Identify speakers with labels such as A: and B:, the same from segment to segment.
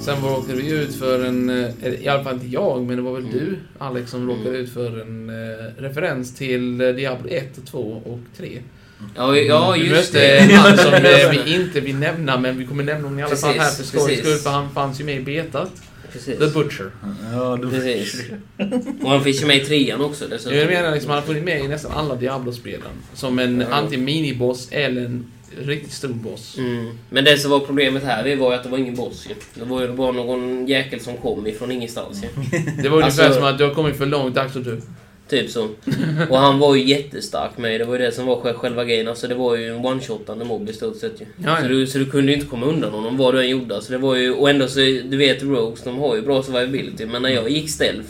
A: Sen råkade vi ut för en, eh, i alla fall inte jag, men det var väl
B: Mm.
A: du Alex som råkade ut för en eh, referens till eh, Diablo 1, 2 och 3.
B: Ja, ja
A: vi
B: just
A: mötte
B: det.
A: en man som eh, vi inte vill nämna, men vi kommer nämna honom i alla fall här för
B: Precis,
A: skojs
B: precis.
A: skull, för han fanns ju med i betat.
B: Precis.
A: The Butcher.
C: Ja, du...
B: Precis. Och han finns ju med i trean också dessutom.
A: Jag menar liksom, han har funnits med i nästan alla Diablo-spelen. Som en
B: Ja.
A: antingen miniboss eller en riktigt stor boss.
B: Mm. Men det som var problemet här det var ju att det var ingen boss ju. Det var ju bara någon jäkel som kom ifrån ingenstans ju.
A: Det var ungefär
B: Alltså-
A: som att du har kommit för långt, dags att du...
B: Typ så. Och han var ju jättestark med. Det var ju det som var sj- själva grejen. Alltså det var ju en one-shotande mobb i stort sett ju.
A: Ja, ja.
B: Så, du, så du kunde ju inte komma undan honom vad du än gjorde. Så det var ju, och ändå så, du vet Rogues, de har ju bra survivability. Men när jag gick stealth.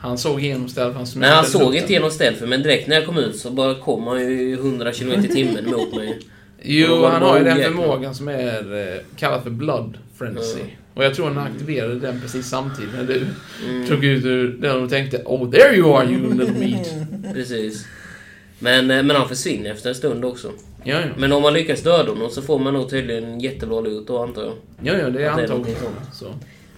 A: Han såg igenom stället, han
B: Nej, han såg
A: lukten.
B: inte genom stealth. Men direkt när jag kom ut så bara kom han ju 100 km i timmen mot mig.
A: Jo,
B: Vad-
A: han
B: vad
A: har ju den
B: jäkla-
A: förmågan som är eh, kallad för blood frenzy.
B: Mm.
A: Och jag tror han aktiverade den precis samtidigt när du
B: Mm.
A: tog ut ur den och tänkte Oh there you are you little meat.
B: Precis. Men, eh, men han försvinner efter en stund också.
A: Ja, ja.
B: Men om man lyckas döda honom så får man nog tydligen jättebra loot då antar jag.
A: ja, ja det är
B: Att det är
A: antagligen
B: någonting
A: så.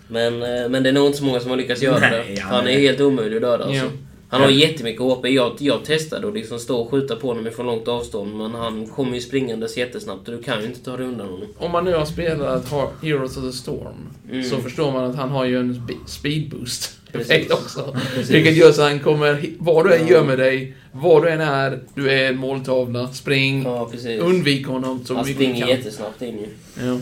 B: Men, eh, men det är nog inte så många som har lyckats göra
C: Nej,
B: det.
C: ja,
B: han är
C: nej.
B: helt omöjlig att döda alltså.
A: Ja.
B: Han har jättemycket HP. Jag, jag testade att liksom stå och skjuta på honom från långt avstånd men han kommer ju springandes jättesnabbt och du kan ju inte ta dig undan honom.
A: Om man nu har spelat Har- Heroes of the Storm
B: Mm.
A: så förstår man att han har ju en spe- speed boost
B: Precis.
A: effekt också. Vilket gör så att han kommer, hi- var du än gömmer dig, var du än är, du är en måltavla, spring,
B: Ja precis.
A: Mm. undvik honom så
B: han
A: mycket du
B: springer
A: kan.
B: jättesnabbt in ju.
A: Ja.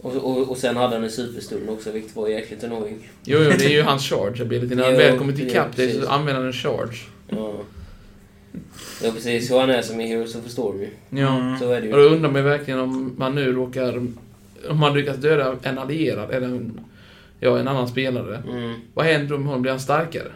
B: Och, och, och sen hade han en superstund också vilket var jäkligt annoying.
A: Jo, jo, det är ju hans charge ability. När han
B: Jo,
A: väl kommer till
B: ja,
A: kapp dig så
B: precis.
A: använder han en charge.
B: Ja. ja precis, så han är som i Heroes of the Storm ju.
A: Ja.
B: Så är det ju.
A: Och då undrar man ju verkligen om man nu råkar... Om man lyckas döda en allierad eller en, ja, en annan spelare.
B: Mm.
A: Vad händer om hon blir han starkare?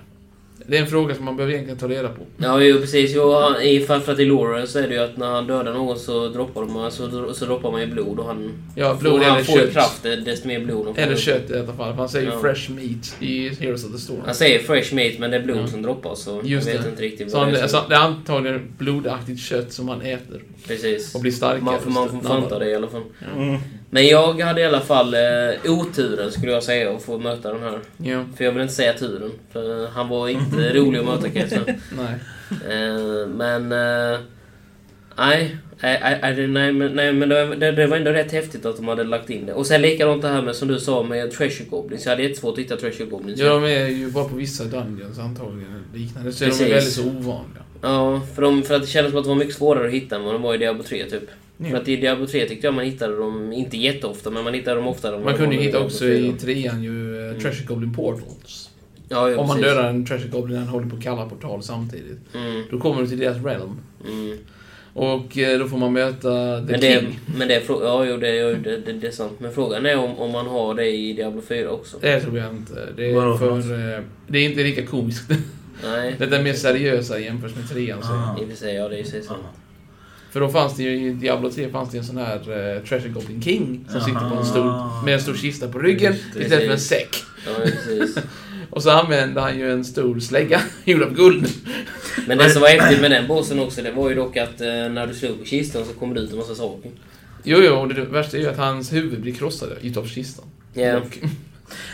A: Det är en fråga som man behöver egentligen ta reda på.
B: Ja, jo, precis. Jo, han, i, framförallt i Lauren så är det ju att när han dödar någon så droppar, de, så, så droppar man ju blod och han,
A: Ja, blod
B: och han
A: eller
B: får ju
A: kött.
B: kraft eh, desto mer blod han får
A: Eller
B: upp.
A: kött i detta fall. för Han säger ju
B: Ja.
A: fresh meat i Heroes of the Storm.
B: Han säger fresh meat men det är blod
A: Ja.
B: som droppar så
A: Mm. Just
B: jag vet
A: det.
B: inte riktigt
A: så
B: vad
A: han, alltså,
B: det är.
A: så det är antagligen blodaktigt kött som han äter.
B: precis.
A: Och blir starkare.
B: Man får, man får fanta
A: snabbare.
B: det i alla fall.
C: Mm.
B: Men jag hade i alla fall eh, oturen skulle jag säga att få möta den här.
A: Ja,
B: För jag vill inte säga turen. För han var inte rolig att möta kan jag säga.
A: nej.
B: Eh, men... eh, nej, nej, nej, nej, nej, men- nej, men det, det, det var ändå rätt häftigt att de hade lagt in det. Och sen likadant det här med som du sa med Treasure Goblins. Jag hade jättesvårt att hitta Treasure Goblins.
A: Ja, de är ju bara på vissa dungeons antagligen. eller Liknande. Så de
B: Precis.
A: är väldigt så ovanliga.
B: Ja, för, de, för att det kändes som att de var mycket svårare att hitta än vad de var i Diablo 3 typ.
A: Ja.
B: För att i Diablo 3 tyckte jag man hittade dem, inte jätteofta, men man hittade dem oftare. än
A: Man
B: vad
A: kunde ju
B: de var
A: hitta
B: Diablo
A: också
B: 4.
A: i trean ju eh, Treasure Goblin Portals.
B: Mm. Ja, ja,
A: Om man
B: precis.
A: dödar en Treasure Goblin när han håller på att kalla portal samtidigt.
B: Mm,
A: Då kommer du till deras realm.
B: mm.
A: Och eh, då får man möta The
B: Men det,
A: King.
B: men det är frå- ja, jo, det, jo, det, det, det är sant. Men frågan är om, om man har det i Diablo 4 också.
A: Det tror jag inte. Det är,
C: Vadå för
A: för, eh, det är inte lika komiskt.
B: Nej,
A: Detta är mer seriösa jämfört med trean. Så.
C: Ah.
B: i och för sig, ja det är ju sant.
A: För då fanns det ju i Diablo 3 fanns det en sån här eh, Treasure Goblin King som sitter på en stor,
B: Ah.
C: Aha.
A: med en stor kista på ryggen
C: Just det.
A: istället för en säck.
B: Ja, precis.
A: Och så använde han ju en stor slägga gjord av guld.
B: Men det som var häftigt med den bossen också, det var ju dock att eh, när du slog på kistan så kom det ut en massa saker.
A: Jo, jo, och det värsta är ju att hans huvud blir krossade utav kistan.
B: Ja,
A: Och-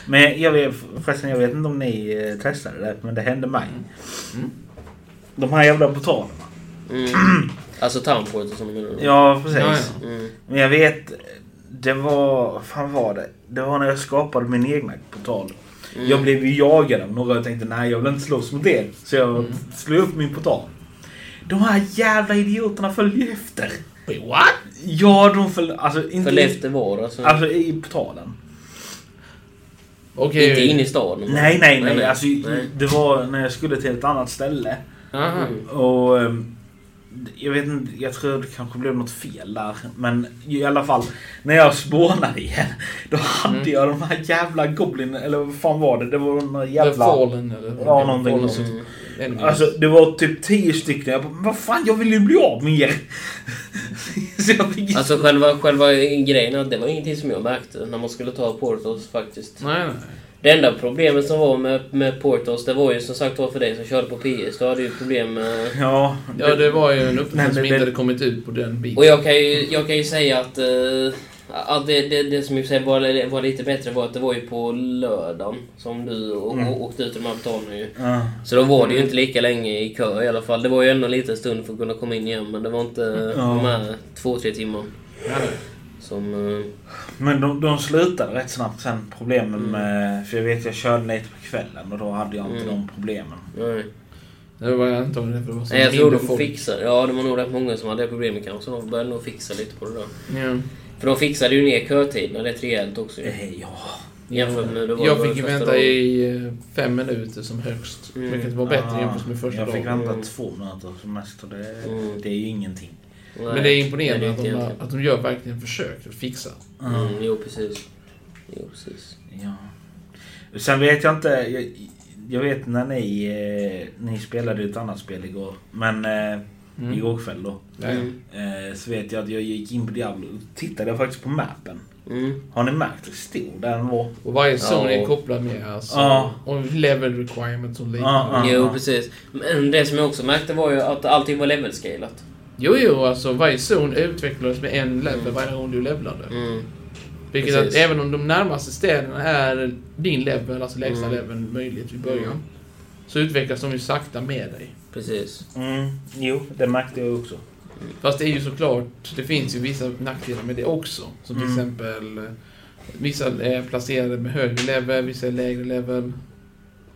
C: Men jag vet, förresten, jag vet inte om ni eh, testade det, men det hände mig. De här jävla portalerna.
B: Mm. Alltså Townport och sånt menar du?
C: Ja, precis.
A: Ja,
B: Mm.
C: Men jag vet, det var... vad fan var det? Det var när jag skapade min egna portal.
B: Mm.
C: Jag blev ju jagad av några och tänkte nej jag vill inte slåss mot det. Så jag
B: Mm.
C: slog upp min portal. De här jävla idioterna följde ju efter.
A: Wait, what?
C: Ja, de följde... Alltså inte...
B: För efter var alltså.
C: Alltså i portalen.
A: Okej.
B: Inte in i staden.
C: Nej, nej, nej. Alltså,
B: nej.
C: Det var när jag skulle till ett annat ställe.
A: Aha.
C: Och ehm, jag vet inte, jag tror det kanske blev något fel där. Men i alla fall, när jag spånade igen. Då hade
A: Mm.
C: jag de här jävla goblin eller vad fan var det? Det var några
A: Jävla...
C: jävla...
A: Fallen eller...
C: Ja, någonting
A: Fallen
C: sånt.
A: som- Enemies.
C: Alltså det var typ tio stycken. Jag bara, "Men vad fan jag vill ju bli av med er. Så jag fick ju-
B: Alltså själva, själva grejen, är att det var ingenting som jag märkte när man skulle ta Portos faktiskt.
A: Nej, nej.
B: Det enda problemet som var med, med Portos, det var ju som sagt var för dig som körde på PS, då hade ju problem med...
C: Ja,
A: Ja, det var ju en uppdatering
C: Nej,
A: som
C: men
A: inte
C: det-
A: hade kommit ut på den biten.
B: Och jag kan ju, jag kan ju säga att eh, Ja, det, det, det som i och för sig var, var lite bättre var att det var ju på lördagen som du å-
C: Mm.
B: å- åkte ut till de här betalningarna.
C: Ja.
B: Så då var det ju inte lika länge i kö i alla fall. Det var ju ändå en liten stund för att kunna komma in igen men det var inte de här två, tre timmar som... eh,
C: Men de, de slutade rätt snabbt sen problemen med... För jag vet jag körde lite på kvällen och då hade jag inte
B: Mm.
C: de problemen.
B: Nej.
A: Det var jag antagligen därför det var så
B: Nej, jag tror
A: mindre
B: de
A: folk.
B: fixade Ja, det var nog rätt många som hade det problemet kanske. De började nog fixa lite på det där.
A: Ja.
B: För de fixade ju ner kötiderna rätt rejält också ju.
C: Eh, Ja.
B: Jämfört med hur det var
A: Jag
B: de
A: fick ju
B: första
A: vänta
B: dagarna.
A: i eh, fem minuter som högst.
B: Mm.
A: Vilket var bättre
C: Ah,
A: jämfört med första
C: Jag fick
A: dagen.
C: vänta
B: Mm.
C: två minuter som mest och det,
B: Mm.
C: det är ju ingenting.
B: Nej,
A: Men det är
B: det
A: imponerande
B: är
A: att
B: inte
A: de, har-
B: egentligen.
A: att de gör verkligen försök att fixa.
B: Mm, jo, precis. Jo, precis.
C: Ja. Sen vet jag inte. Jag, jag vet när ni, eh, ni spelade ett annat spel igår. Men eh,
A: Mm.
C: igår kväll då.
A: Ja, ja.
B: Mm.
C: Eh, så vet jag att jag gick in på Diablo och tittade jag faktiskt på mappen.
B: Mm.
C: Har ni märkt hur stor den var?
A: Och varje zon
B: Ja.
A: är kopplad med alltså.
C: Ja.
A: Och level requirements och liknande.
C: Ja, ja.
B: Jo, precis. Men det som jag också märkte var ju att allting var levelscalat.
A: Jo, jo, alltså varje zon utvecklades med en level varje gång du levlade.
B: Mm.
A: Vilket
B: Precis.
A: att även om de närmaste städerna är din level, alltså lägsta
B: Mm.
A: level möjligt i början. Så utvecklas de ju sakta med dig.
B: Precis.
C: Mm, jo, det märkte jag också.
A: Fast det är ju såklart, det finns ju vissa nackdelar med det också. Som till
C: Mm.
A: exempel eh, vissa är placerade med högre level, vissa är lägre level.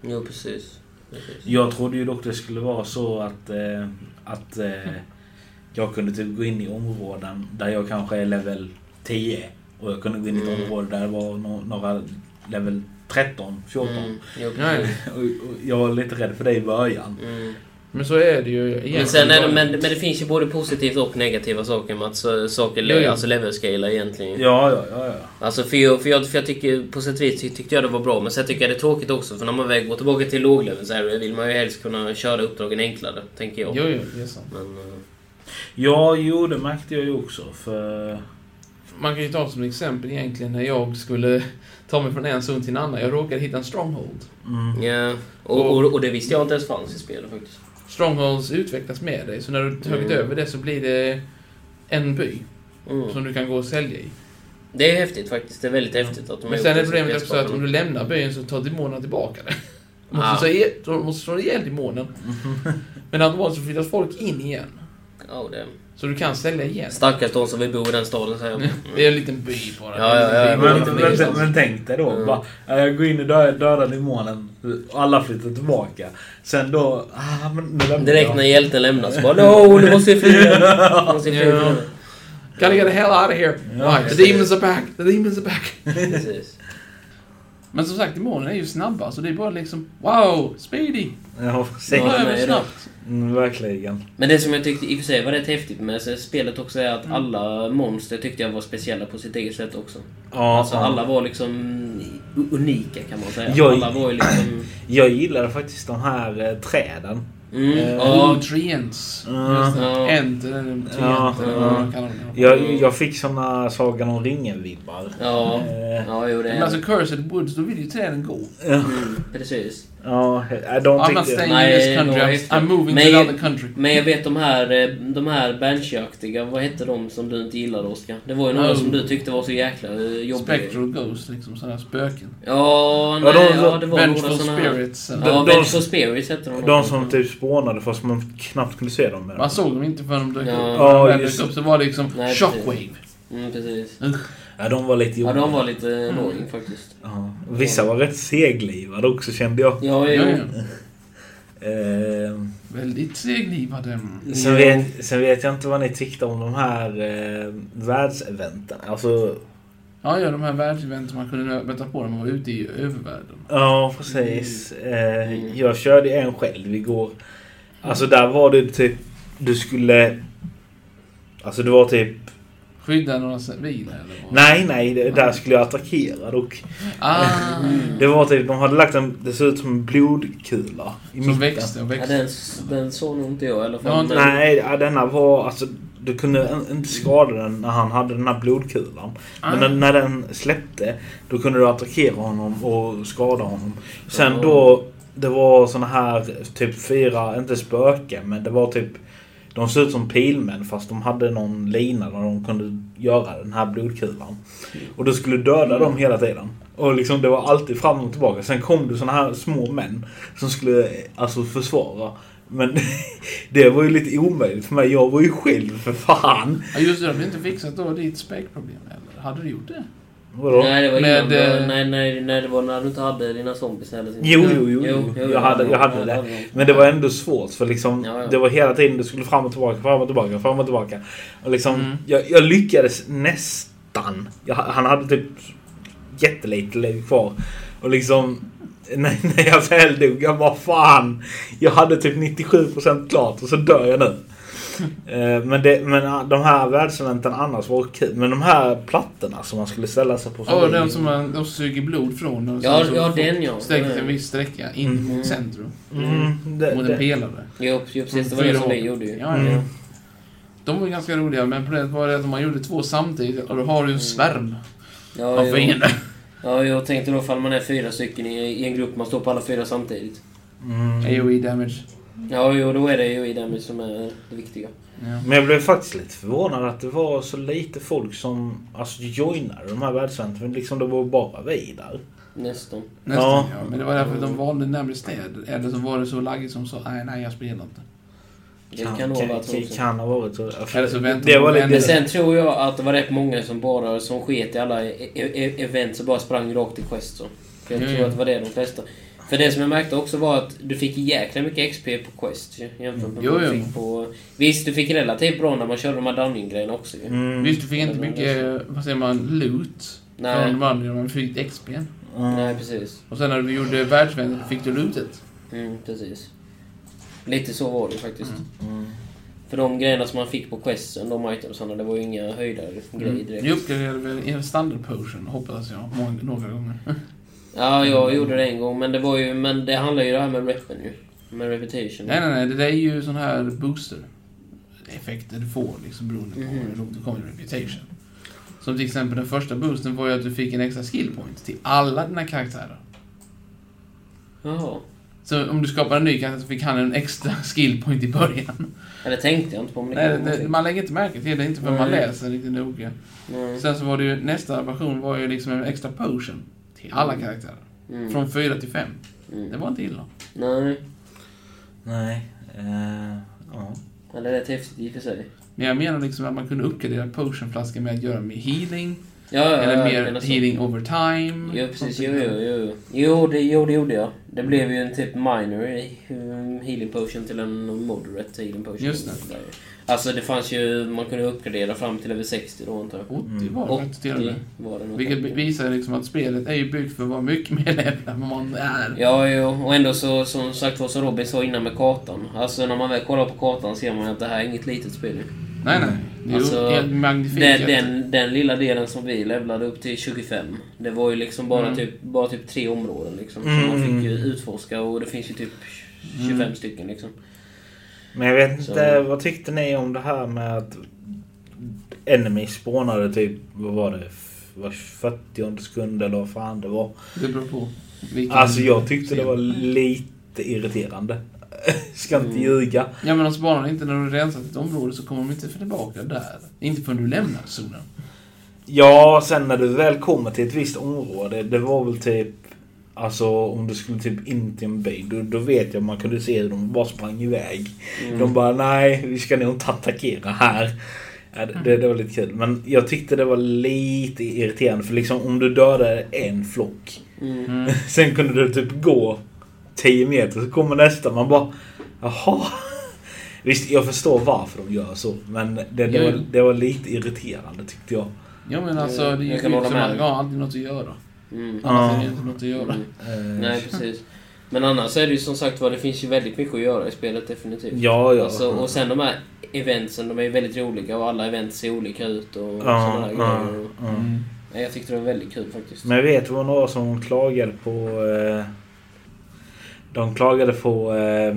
B: Jo, precis. precis.
C: Jag trodde ju dock det skulle vara så att, eh, att eh, jag kunde typ gå in i områden där jag kanske är level 10. Och jag kunde gå in i ett
B: Mm.
C: område där det var no- några level 13, 14.
B: Mm. Jo,
A: Nej.
B: precis.
C: Och, och jag var lite rädd för det i början.
B: Mm.
A: Men så är det ju egentligen.
B: Men, sen är det, men, men det finns ju både positivt och negativa saker med att så, saker
A: Jo, jo.
B: alltså levelscala egentligen.
C: Ja, ja, ja. ja.
B: Alltså för jag, för, jag, för jag tycker på sätt och vis ty- tyckte jag det var bra men sen tycker jag det är tråkigt också för när man väl går tillbaka till låglevel så här, vill man ju helst kunna köra uppdragen enklare, tänker jag.
A: Jo, jo, det är sant.
B: Men, eh,
C: Ja, jo, det märkte jag ju också. För...
A: Man kan ju ta som exempel egentligen när jag skulle ta mig från en zon till en annan. Jag råkade hitta en stronghold.
C: Mm.
B: ja. och, och, och det visste jag inte ens fanns i spelet faktiskt.
A: Strongholds utvecklas med dig, så när du tagit
B: Mm.
A: över det så blir det en by
B: Mm.
A: som du kan gå och sälja i.
B: Det är häftigt faktiskt, det är väldigt häftigt att de har
A: Men
B: gjort
A: sen är
B: det så
A: problemet också att
B: spelskaparna.
A: om du lämnar byn så tar demonerna tillbaka det. De måste,
B: Ah.
A: slå ihjäl- de måste slå ihjäl demonen. Men automatiskt så flyttas folk in igen.
B: Ja, det...
A: Så du kan sälja igen.
B: Stackars de som vill bo i den staden säger jag.
A: Det är en liten by bara.
B: Mm. Ja, ja, ja,
A: Det är en
C: Men,
A: liten by.
B: det
C: men,
B: blir
C: men,
B: sant.
C: men tänk dig då.
B: Mm.
C: Bara, eh, jag går in och dödar, dödar demonen. Och alla flyttar tillbaka. Sen då... Ah, men nu lämnar
B: Direkt
C: jag.
B: när hjälten lämnar så bara no, nu måste vi fly! Nu måste vi fly.
A: Ja. Gotta get the hell out of here!
C: Ja,
A: Right, the demons are back! The demons are back!
B: Precis.
A: Men som sagt, demonerna är ju snabba så det är bara liksom Wow! Speedy!
C: Ja,
A: Gå
B: Ja,
C: precis.
B: men
A: över
B: är det-
A: snabbt!
C: Mm, verkligen.
B: Men det som jag tyckte i och för sig var rätt häftigt med så- spelet också är att
A: Mm.
B: alla monster tyckte jag var speciella på sitt eget sätt också.
C: Ja,
B: alltså
C: ja.
B: alla var liksom u- unika kan man säga.
C: Jag-
B: Alla var ju liksom...
C: Jag gillade faktiskt de här eh, träden.
B: Mm,
C: Eh,
B: ja.
A: Oh, treants!
C: Ja.
A: Just det.
B: Ja.
A: Ent, eller treant,
C: Ja,
A: eller vad man
C: ja.
A: kallar dem.
C: Jag,
B: Mm.
C: jag fick såna Sagan om ringen-vibbar.
B: Ja.
C: Eh,
B: Ja, jo det
A: Men
B: är
A: alltså, Cursed Woods, då vill ju träden gå.
B: mm, Precis.
C: Ja, eh,
A: I'm
C: de
A: not
C: tyckte...
A: staying
B: Nej,
A: in this country,
B: det var
A: I'm-
B: häftigt.
A: I'm moving
B: Men-
A: to another country.
B: Men jag vet de här, eh, de här banshee-aktiga, vad hette de som du inte gillade Oskar? Det var ju några
A: Oh.
B: som du tyckte var så jäkla eh, jobbiga.
A: Spectral Ghost, liksom sådana här spöken.
B: Ja,
C: Ja,
B: nej,
C: de-
B: ja, det var några
A: Vengeful
B: såna här.
A: Spirits. eller-
B: Ja,
C: De- de-
B: Vengeful Spirits hette de.
C: De som typ spånade fast man knappt kunde se dem. med dem.
A: Man
B: Alltså-
A: såg dem inte förrän de dök
B: Ja.
A: upp.
C: Ja,
A: När de väl
C: just-
A: dök upp så var det liksom
B: Nej, precis.
A: shockwave.
B: Mm, precis.
C: Ja, de var lite
B: Ja,
C: jobbiga.
B: de var lite
A: Mm.
B: annoying faktiskt.
C: Ja, Vissa var rätt seglivade också kände jag.
A: Ja,
B: Ja, jo.
A: ja.
C: Eh,
A: Väldigt seglivade.
C: sen, vet, sen vet jag inte vad ni tyckte om de här eh, världseventen. Alltså,
A: Ja, ja, de här världseventen man kunde möta på när man var ute i övervärlden.
C: ja precis.
B: Mm.
C: Eh, jag körde en själv igår. Alltså där var det typ, du skulle... Alltså det var typ...
A: Skydda några civila eller vad?
C: Nej, nej, det, där skulle jag attackera dock.
A: Ah,
C: Det var typ, de hade lagt en, det såg ut som en blodkula. I
A: som
C: mitten.
A: växte och
B: Ja,
A: växte.
B: den, den såg nog inte jag i alla
A: Jag har
B: fall.
A: inte-
B: men-
C: Nej, ja, denna var... Alltså, du kunde en- inte skada den när han hade den här blodkulan.
A: Ah.
C: Men när- när den släppte, då kunde du attackera honom och skada honom. Sen
B: Ja.
C: då, det var såna här typ fyra, inte spöken, men det var typ De såg ut som pilmän fast de hade någon lina där de kunde göra den här blodkulan. Och du skulle döda dem hela tiden. Och liksom det var alltid fram och tillbaka. Sen kom det såna här små män som skulle eh, alltså försvara. Men det var ju lite omöjligt för mig. Jag var ju själv för fan.
A: Ja, just det, de hade inte fixat då ditt späckproblem eller? Hade du gjort det?
C: Vadå?
B: Nej, det var
A: Med,
B: innan. det var-
A: eh,
B: nej, nej, nej, det var när du inte hade dina zombies eller sin-
C: Jo, jo, jo. jo. Jag, hade, jag hade det. Men det var ändå svårt för liksom,
B: Ja, ja.
C: det var hela tiden du skulle fram och tillbaka, fram och tillbaka, fram och tillbaka. Och liksom,
A: Mm.
C: jag, jag lyckades nästan. Jag, han hade typ jättelite liv kvar. Och liksom, när, när jag väl dog, jag bara fan. Jag hade typ 97% klart och så dör jag nu. Eh, Men, det, men ah, de här världseventen annars var kul. Men de här plattorna som man skulle ställa sig på.
A: Ja, den som man, de suger blod från. och
B: Ja,
A: sen så
B: ja,
A: får-
B: den, ja.
A: Sträckt
B: Mm.
A: en viss sträcka in
C: Mm.
A: mot centrum.
C: Mm, det,
A: Mot en
C: det.
A: pelare.
B: Jo, jo, precis. Det var
A: Fyra
B: det som
A: hål.
B: vi gjorde ju.
A: Ja,
C: Mm.
A: ja. De var ju ganska roliga, men problemet var det att om man gjorde två samtidigt och då har du en svärm
B: Mm. Ja,
A: av
B: jo.
A: fiender.
B: ja, jag tänkte då ifall man är fyra stycken i, i en grupp, man står på alla fyra samtidigt.
C: Mm.
A: AOE damage.
B: Ja, jo, då är det ju i den som är det viktiga.
A: Ja.
C: Men jag blev faktiskt lite förvånad att det var så lite folk som alltså, joinade de här världscentren. Liksom det var bara vi där.
B: Nästan.
A: Nästan
C: Ja.
A: ja. Men det var därför de valde närmare städer. Eller så var det så laggigt som sa nej, nej, jag spelar inte.
B: Det kan nog vara så
C: kan,
B: också.
C: kan ha varit så. Alltså,
A: Eller så väntar
C: det
A: man
C: var
A: på
C: lite...
B: Men sen tror jag att det var rätt många som bara som sket i alla e- e- event och bara sprang rakt till Quest. Så. För jag
A: Mm.
B: tror att det var det de flesta. För det som jag märkte också var att du fick jäkla mycket XP på Quest ju, jämfört med
A: Jo,
B: vad du
A: jo.
B: fick på... Visst, du fick relativt bra när man körde de här dungeon-grejerna också ju.
C: Mm.
A: Visst, du fick inte
B: Det var
A: mycket, vad säger man, loot
B: Nej.
A: från vandringen, men du fick XP.
C: Mm.
B: Nej, precis.
A: Och sen när du gjorde världsvänner fick du lootet.
B: Mm, precis. Lite så var det ju faktiskt.
C: Mm.
B: För de grejerna som man fick på questen, de itemsarna, det var ju inga höjdare grejer direkt.
A: Ni Mm. uppgraderade väl en standard potion, hoppas jag, många, några gånger.
B: Mm. Ja, jag gjorde det en gång, men det var ju... Men det handlar ju det här med repen ju. Med reputation.
A: Nej, nej, nej. Det där är ju sån här booster. Effekter du får liksom beroende på
B: Mhm.
A: hur långt du kommer i reputation. Som till exempel den första boosten var ju att du fick en extra skill point till alla dina karaktärer.
B: Jaha.
A: Så om du skapar en ny karaktär så fick han en extra skill point i början.
B: Ja, det tänkte jag inte på. Men det
A: Nej,
B: kan man
A: det,
B: se.
A: man lägger inte märke till det, inte för man
B: Nej.
A: läser riktigt noga.
B: Nej.
A: Sen så var det ju, nästa version var ju liksom en extra potion till alla karaktärer.
B: Mm.
A: Från 4 till 5. Det
B: Mm.
A: var inte illa.
B: Nej.
C: Nej. Eh, ja.
B: Ja, det är rätt häftigt i och för sig.
A: Men jag menar liksom att man kunde uppgradera potionflaskan med att göra mer healing.
B: Ja, ja,
A: Eller
B: ja,
A: mer
B: menar så.
A: healing over time.
B: Jo, precis.
A: Sånt
B: Jo,
A: där.
B: jo, jo. Jo det, jo, det gjorde jag. Det blev ju en typ minor eh, healing potion till en moderate healing potion.
A: Just det.
B: Alltså, det fanns ju... Man kunde uppgradera fram till över 60 då, antar jag.
A: 80 var det faktiskt till och
B: 80
A: med.
B: var det nog.
A: Vilket visar liksom att spelet är ju byggt för att vara mycket mer level än vad man är.
B: Ja, jo. och ändå så, som sagt var som Robin sa innan med kartan. Alltså när man väl kollar på kartan ser man att det här är inget litet spel. ju.
A: Nej, nej. Det är
B: Alltså,
A: ju helt magnifikt.
B: Den, den, den lilla delen som vi levlade upp till 25, det var ju liksom bara,
A: Mm.
B: typ, bara typ tre områden liksom.
C: Mm.
B: Som man fick ju utforska och det finns ju typ 25 stycken liksom.
C: Men jag vet inte,
B: Så-
C: vad tyckte ni om det här med att Enemy spånade typ, vad var det? F- Var 40 sekund eller vad fan det var.
A: Det beror på. vilken-
C: Alltså jag tyckte det var lite irriterande. Ska inte
B: Mm.
C: ljuga.
A: Ja, men de spanar inte när du har rensat ett område så kommer de inte tillbaka där. Inte förrän du lämnar zonen.
C: Ja, sen när du väl kommer till ett visst område. Det var väl typ... Alltså om du skulle typ in till en by. Då, då vet jag man kunde se hur de bara sprang iväg. De bara nej, vi ska nog inte attackera här. Ja, det, det, det var lite kul. Men jag tyckte det var lite irriterande. För liksom om du dödade en flock.
B: Mm.
A: Mm.
C: Sen kunde du typ gå 10 meter. Så kommer nästa. Man bara jaha. Visst, jag förstår varför de gör så. Men det, det,
A: Jo,
C: var,
A: jo.
C: det var lite irriterande tyckte jag.
A: Ja, men alltså det är ju
B: Jag
A: ut
B: kan
A: som
B: hålla
A: att
B: med.
A: man har alltid något att göra.
B: Mm.
A: Annars
C: Ja.
A: är det ju inte något att göra.
B: Mm.
C: Eh,
B: Nej, precis. Men annars är det ju som sagt var, det finns ju väldigt mycket att göra i spelet definitivt.
C: Ja, ja.
B: Alltså, och sen de här eventsen, de är ju väldigt roliga och alla event ser olika ut och sådana
C: ja,
B: där
C: ja,
B: grejer.
C: ja.
A: Mm.
B: Nej, Jag tyckte det var väldigt kul faktiskt.
C: Men jag vet vad några som klagade på... Eh, de klagade på... Eh,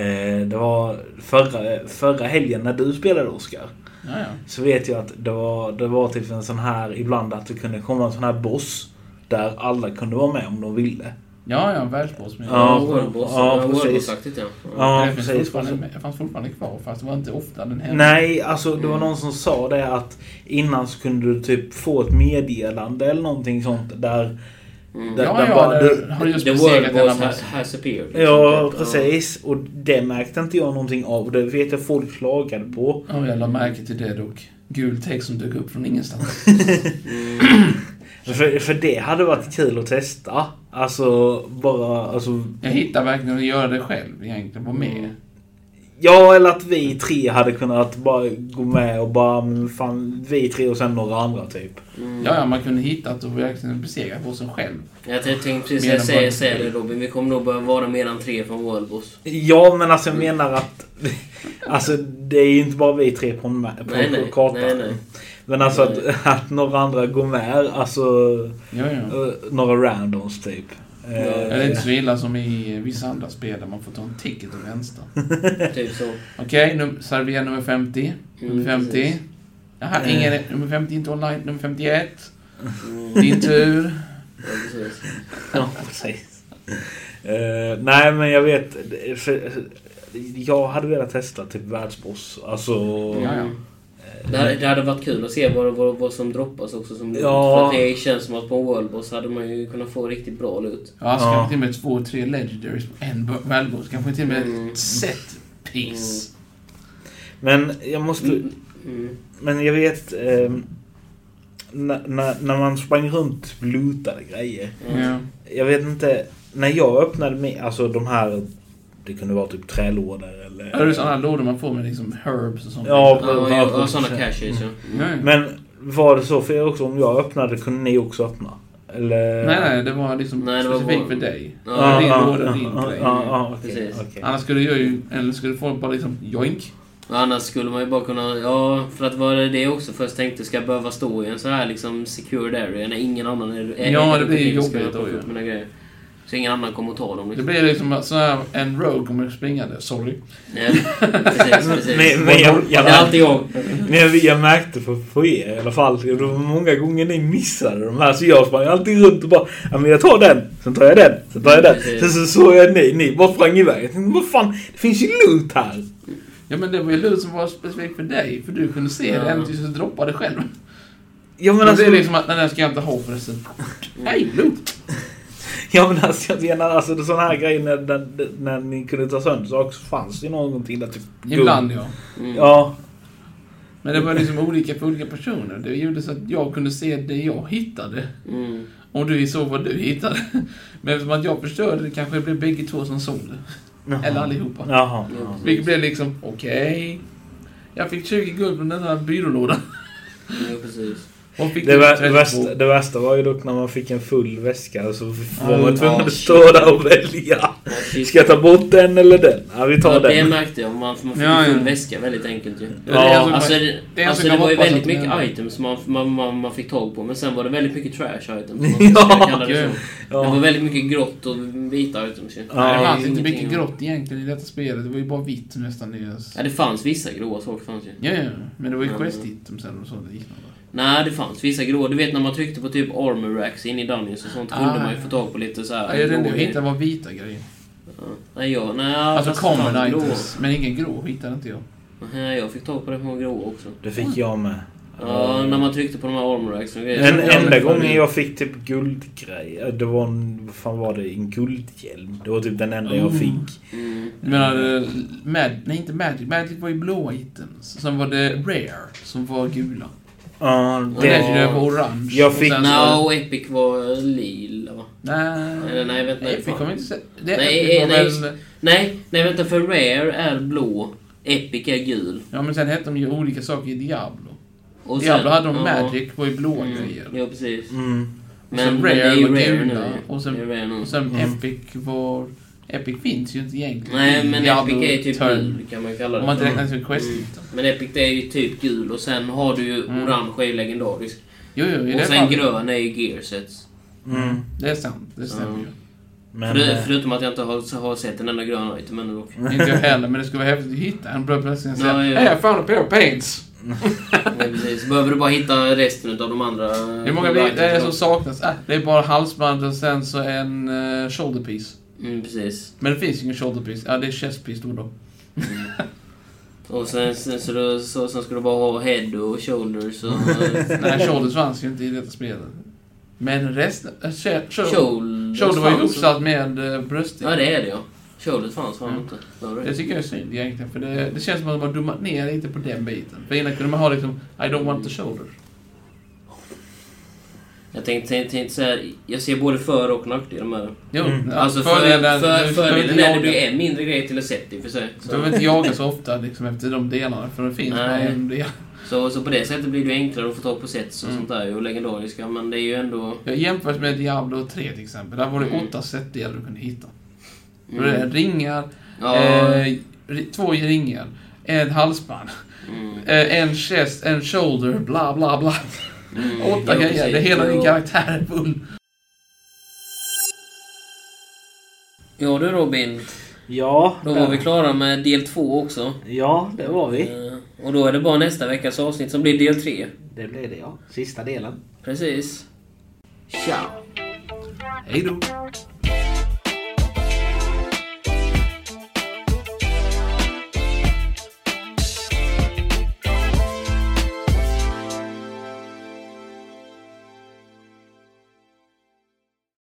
C: eh, det var förra, förra helgen när du spelade Oscar.
A: Ja, ja.
C: Så vet jag att det var, det var typ en sån här ibland att det kunde komma en sån här boss. Där alla kunde vara med om de ville.
A: Ja, ja, världsbossmiljö.
C: Ja,
B: Worldboss.
C: ja,
B: Ja,
C: precis.
B: Worldboss-aktigt ja. ja.
C: Ja,
A: det finns
C: precis.
A: fortfarande, det fanns fortfarande kvar, fast det var inte ofta den hände.
C: Nej, alltså det var
B: Mm.
C: någon som sa det att innan så kunde du typ få ett meddelande eller någonting sånt där...
B: Mm.
C: där,
A: Ja,
C: där
A: ja,
C: bara,
A: där
C: du,
A: har du just
B: The
A: besegrat en
B: Worldboss
A: annan
B: has, has appeared. liksom.
C: ja, precis. Och det märkte inte jag någonting av. och Det vet jag folk klagade på.
A: Ja, jag la märke till det dock. Gul text som dök upp från ingenstans.
B: Mm.
C: För, för det hade varit kul att testa. Alltså, bara... Alltså,
A: Jag hittar verkligen att göra det själv egentligen, vara med.
C: Ja, eller att vi tre hade kunnat bara gå med och bara, men fan, vi tre och sen några andra typ.
A: Ja, ja, man kunde hitta att och verkligen besegra bossen själv.
B: Jag tänkte
A: Mer än
B: precis säga,
A: bara-
B: säga det Robin, vi kommer nog behöva vara mer än tre från Worldboss.
C: Ja, men alltså jag menar att... Alltså det är ju inte bara vi tre på, en ma- på
B: Nej, nej,
C: kartan.
B: nej, nej.
C: Men alltså
B: Nej.
C: att, att några andra går med, alltså
A: Ja, ja.
C: eh, några randoms typ. Eh,
B: Ja,
A: Det är inte så illa som i vissa andra spel där man får ta en ticket och vänster.
B: Typ så.
A: Okej, num- servera nummer 50. Nummer
B: Mm,
A: 50.
B: precis.
A: Jaha,
C: Eh.
A: ingen, nummer 50 inte online. Nummer 51.
B: Mm.
A: Din tur.
B: Ja, precis.
C: Ja, precis. Eh, nej, men jag vet... För, jag hade velat testa typ världsboss. Alltså...
A: Ja, ja.
B: Mm. Det hade, det hade varit kul att se vad, vad, vad som droppas också som loot.
C: Ja.
B: För att det känns som att på en Worldboss hade man ju kunnat få riktigt bra loot.
A: Ja, alltså
C: Ja.
A: kanske till och med två, tre legendaries på en b- välgås. Kanske till och med
B: Mm.
A: ett set piece.
C: Men jag måste...
B: Mm.
C: Men jag vet... ehm, när, när, när man sprang runt och lootade grejer.
B: Mm,
A: Ja.
C: Jag vet inte. När jag öppnade mig, alltså de här... Det kunde vara typ trälådor eller...
A: Är det sådana lådor man får med liksom herbs och sånt? Liksom?
C: Ja.
B: Ja, ja, ja, sådana caches ja.
A: Ja,
B: Mm.
A: ja.
C: Men var det så för er också? Om jag öppnade kunde ni också öppna? Eller... Ah,
A: Nej, nej, det var liksom
B: Nej, det var
A: specifikt
B: bara-
A: för dig.
B: Ja,
A: din
C: eh, ja,
A: låda,
C: ja,
A: din
C: ja,
A: grej.
C: ja, ja, ah, okej,
B: Precis.
C: okej.
A: Annars skulle jag ju, eller skulle folk bara liksom joink.
B: Annars skulle man ju bara kunna... Ja, för att vara det också. Först tänkte ska jag behöva stå i en så här liksom secured area när ingen annan är... är
A: Ja,
B: är-
A: det blir ju
B: ska
A: jobbigt
B: jag plocka
A: då ju.
B: upp mina grejer. Så ingen annan kommer att ta dem
A: Det
B: liksom.
A: blir liksom att så här, en rogue kommer springande. Sorry.
B: Ja, precis, precis.
C: Men, men jag,
B: Ja,
C: jag,
B: det är alltid jag.
C: men jag, jag märkte för, för er i alla fall, det var många gånger ni missade de här så jag sprang alltid runt och bara ja, men jag tar den, sen tar jag den, sen tar jag den.
A: Mm.
B: Precis.
C: Sen så såg jag ni, ni bara sprang iväg. Jag tänkte, vad fan, det finns ju loot här.
A: Ja, men det var ju loot som var specifikt för dig. För du kunde se
B: Ja.
A: den tills du droppade själv.
C: Jag
A: Men
C: menar, alltså,
A: det är liksom att, den här ska jag inte ha förresten. Nej, loot!
C: jag menar, alltså, jag menar alltså det är sådana här grejer när, när, när ni kunde ta sönder saker så fanns det ju någonting där typ.
A: Ibland ja.
B: Mm.
C: Ja.
A: Men det var liksom olika för olika personer. Det gjorde så att jag kunde se det jag hittade.
B: Mm.
A: Och du såg vad du hittade. Men eftersom att jag förstörde det kanske det blev bägge två som såg det.
C: Jaha.
A: Eller allihopa.
C: Jaha.
B: Ja.
A: Vilket blev liksom, okej. Jag fick 20 guld från den här byrålådan.
B: Ja, precis.
A: Och fick
C: Det,
A: typ
C: vär,
A: 32.
C: värsta, det värsta var ju dock när man fick en full väska så var
A: Mm.
C: man tvungen
B: Ja,
C: att stå där och välja.
B: Ja, shit.
C: Ska jag ta bort den eller den? Ja, vi tar
B: Ja, Det
C: den.
B: märkte jag. Man, man fick
A: Ja,
B: en full
A: ja.
B: väska väldigt enkelt ju.
A: Ja, det är
C: Ja,
A: alltså-
B: Alltså, det,
A: det är
B: alltså,
A: som
B: det
A: jag
B: var ju
A: hoppas
B: väldigt
A: att
B: mycket
A: ni-
B: items man, man, man, man fick tag på, men sen var det väldigt mycket trash items. om man ska kalla det,
A: Ja.
B: så. det var
C: Ja.
B: väldigt mycket grått och vita items ju.
A: Nej, det
C: Ja,
A: fanns inte
B: ingenting-
A: mycket grått egentligen i detta spelet. Det var ju bara vitt nästan. i oss.
B: Ja, det fanns vissa gråa saker fanns ju.
A: Ja, ja. Men det var ju
B: Ja.
A: quest item sen och sånt liknande.
B: Nej, det fanns vissa gråa. Du vet när man tryckte på typ armor racks in i Dungeons och sånt kunde
A: Ah.
B: man ju få tag på lite så
A: Ja, jag
B: här.
A: vet inte,
B: grå
A: jag
B: grejer.
A: hittade var vita grejer.
B: Ja. Nej, jag... Nej,
A: Alltså
B: fast det fanns
A: common
B: grå.
A: items. Men ingen grå hittade inte jag.
B: Nej, jag fick tag på det på grå också.
C: Det fick jag med.
B: Ja, när man tryckte på de här armor racks och grejer.
C: En
B: Ja,
C: enda
B: men-
C: gången jag fick typ guldgrej. Det var en, vad fan var det? En guldhjälm. Det var typ den enda jag
A: Mm.
C: fick.
B: Mm.
A: Du menar, eh, mag- nej inte Magic. Magic var ju blåa items. Sen var det Rare, som var gula.
C: Ja,
A: Och
B: Ja.
C: det,
A: Legendary var orange.
C: Jag
A: och
C: fick-
A: sen så-
B: No, Epic var lila va?
A: Nej,
B: Eller nej, vänta, nej,
A: Epic
B: fan.
A: kommer inte se... Det är
B: Nej,
A: Epic var
B: nej,
A: väl-
B: just- Nej, nej vänta för Rare är blå, Epic är gul.
A: Ja, men sen hette de ju olika saker i Diablo.
B: Och
A: Diablo hade de
B: ja.
A: Magic, var ju blåa
B: Mm,
A: grejer.
B: Ja precis.
C: mm,
A: Och
B: Men,
A: sen
B: men det är
A: Rare
B: ju
A: var
B: Rare nu.
A: gula. Och sen,
B: Det är Rare nu.
A: och sen
C: Mm.
A: Epic var... Epic finns ju inte egentligen.
B: Nej men
A: Diablo
B: Epic är typ
A: Turn.
B: gul kan man kalla det
A: Om man
B: för.
A: inte räknar som quest
B: Mm.
A: item.
B: Men Epic det är ju typ gul och sen har du ju
A: Mm.
B: orange är ju legendarisk.
A: Jo, jo, i
B: Och
A: det
B: sen
A: fallet.
B: grön är ju gearsets.
C: mm.
A: Det är sant, det stämmer ju.
C: Men,
B: För-
C: eh,
B: förutom att jag inte har, har sett en enda grön item ännu dock.
A: Inte jag heller, men det skulle vara häftigt att hitta en. Bara plötsligt säga
B: Ja, ja.
A: Hey, I found a pair of pants!
B: Nej, Eh, precis. Behöver du bara hitta resten av de andra...
A: Mm.
B: eh,
A: Hur många blir det är som saknas? Äh, det är bara halsband och sen så en uh, shoulder piece.
B: Mm, precis.
A: Men det finns ju ingen shoulder piece. Ja, det är chest piece då. då.
B: Mm. Och sen, sen, så du, så, sen ska du bara ha head och shoulders och... eh,
A: Nej, shoulders fanns ju inte i detta spelet. Men resten... Äh, shoulder, shoulder,
B: shoulders
A: var ju
B: fanns.
A: uppsatt med uh, bröstet.
B: Ja, det är det ja. Shoulders fanns fan
A: Mm.
B: inte. Det har du
A: Det
B: rätt i.
A: tycker jag är synd egentligen, för det, det känns som att man har dummat ner lite på den biten. För innan kunde man ha liksom, I don't want the shoulder.
B: Jag tänkte, tänkte, tänkte så här, jag ser både för och nackdelar med det.
A: Jo,
C: Mm.
A: ja,
B: Alltså för,
A: fördelen...
B: för,
A: du behöver
B: fördelen
A: inte
B: är att det
A: jaga.
B: blir en mindre grej till ett setting för sig.
A: Du
B: Så,
A: behöver inte jaga så ofta liksom, efter de delarna, för det finns bara
B: Nej.
A: en del.
B: så, så på det sättet blir det ju enklare att få tag på sets och
C: Mm.
B: sånt där ju, och legendariska. Men det är ju ändå...
A: Jag jämför med Diablo 3 till exempel. Där var det
B: Mm.
A: åtta setdelar du kunde hitta.
B: Mm.
A: Det var ringar,
B: Ja,
A: eh, ri- två ringar, ett halsband,
B: mm,
A: eh, en chest, en shoulder, bla bla bla.
B: mm,
A: Åtta
B: ja,
A: grejer,
B: precis.
A: det är hela din
B: Ja.
A: karaktär är full.
B: Ja du Robin,
C: Ja,
B: då var vi klara med del två också.
C: ja, det var vi.
B: Eh, Och då är det bara nästa veckas avsnitt som blir del tre.
C: Det blev det ja. Sista delen.
B: Precis. Ciao!
A: Hej då!